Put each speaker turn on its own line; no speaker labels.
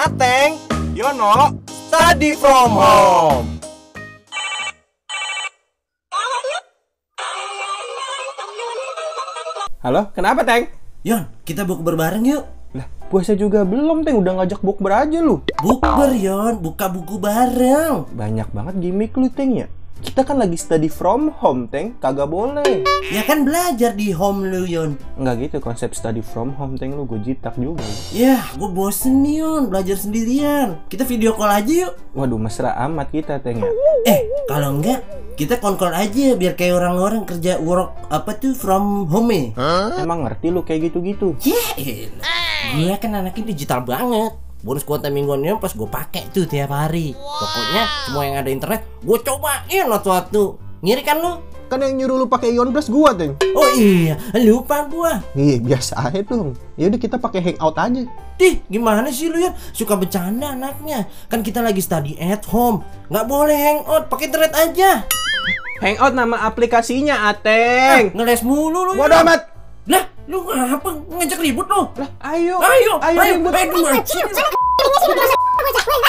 Ateng, Yono, Study From Home. Halo, kenapa Teng?
Yon, kita bukber bareng yuk.
Lah, puasa juga belum Teng, udah ngajak bukber aja lu.
Bukber Yon, buka buku bareng.
Banyak banget gimmick lu Teng ya. Kita kan lagi study from home, Teng. Kagak boleh.
Ya kan belajar di home lu Yon.
Nggak gitu konsep study from home, Teng. Lu gue jitak juga. lu.
Yah, gue Ya, bosen nih Yon, belajar sendirian. Kita video call aja yuk.
Waduh, mesra amat kita, Teng ya.
Eh, kalau enggak, kita konkol aja ya, biar kayak orang-orang kerja work apa tuh from home ya.
Emang ngerti lu kayak gitu-gitu?
Yah, elah. Gue kan anaknya digital banget. Bonus kuota mingguan Yon pas gue pakai tuh tiap hari. Pokoknya semua yang ada internet, gue cobain satu-satu. Ngiri kan lu?
Kan yang nyuruh lu pakai Ion Plus gua, Teng.
Oh iya, lupa gua.
Iya, biasa aja dong. Ya udah kita pakai hangout aja.
Dih, gimana sih lu ya? Suka bercanda anaknya. Kan kita lagi study at home. Nggak boleh hangout, pakai internet aja.
Hangout nama aplikasinya,
Eh,
Ateng.
ngeles mulu lu.
Bodoh
ya.
amat.
Lah, lu ngapa ngajak ribut lu?
Lah, ayo.
Ayo, ayo, ayo,
ribut.
ayo, ayo, ayo,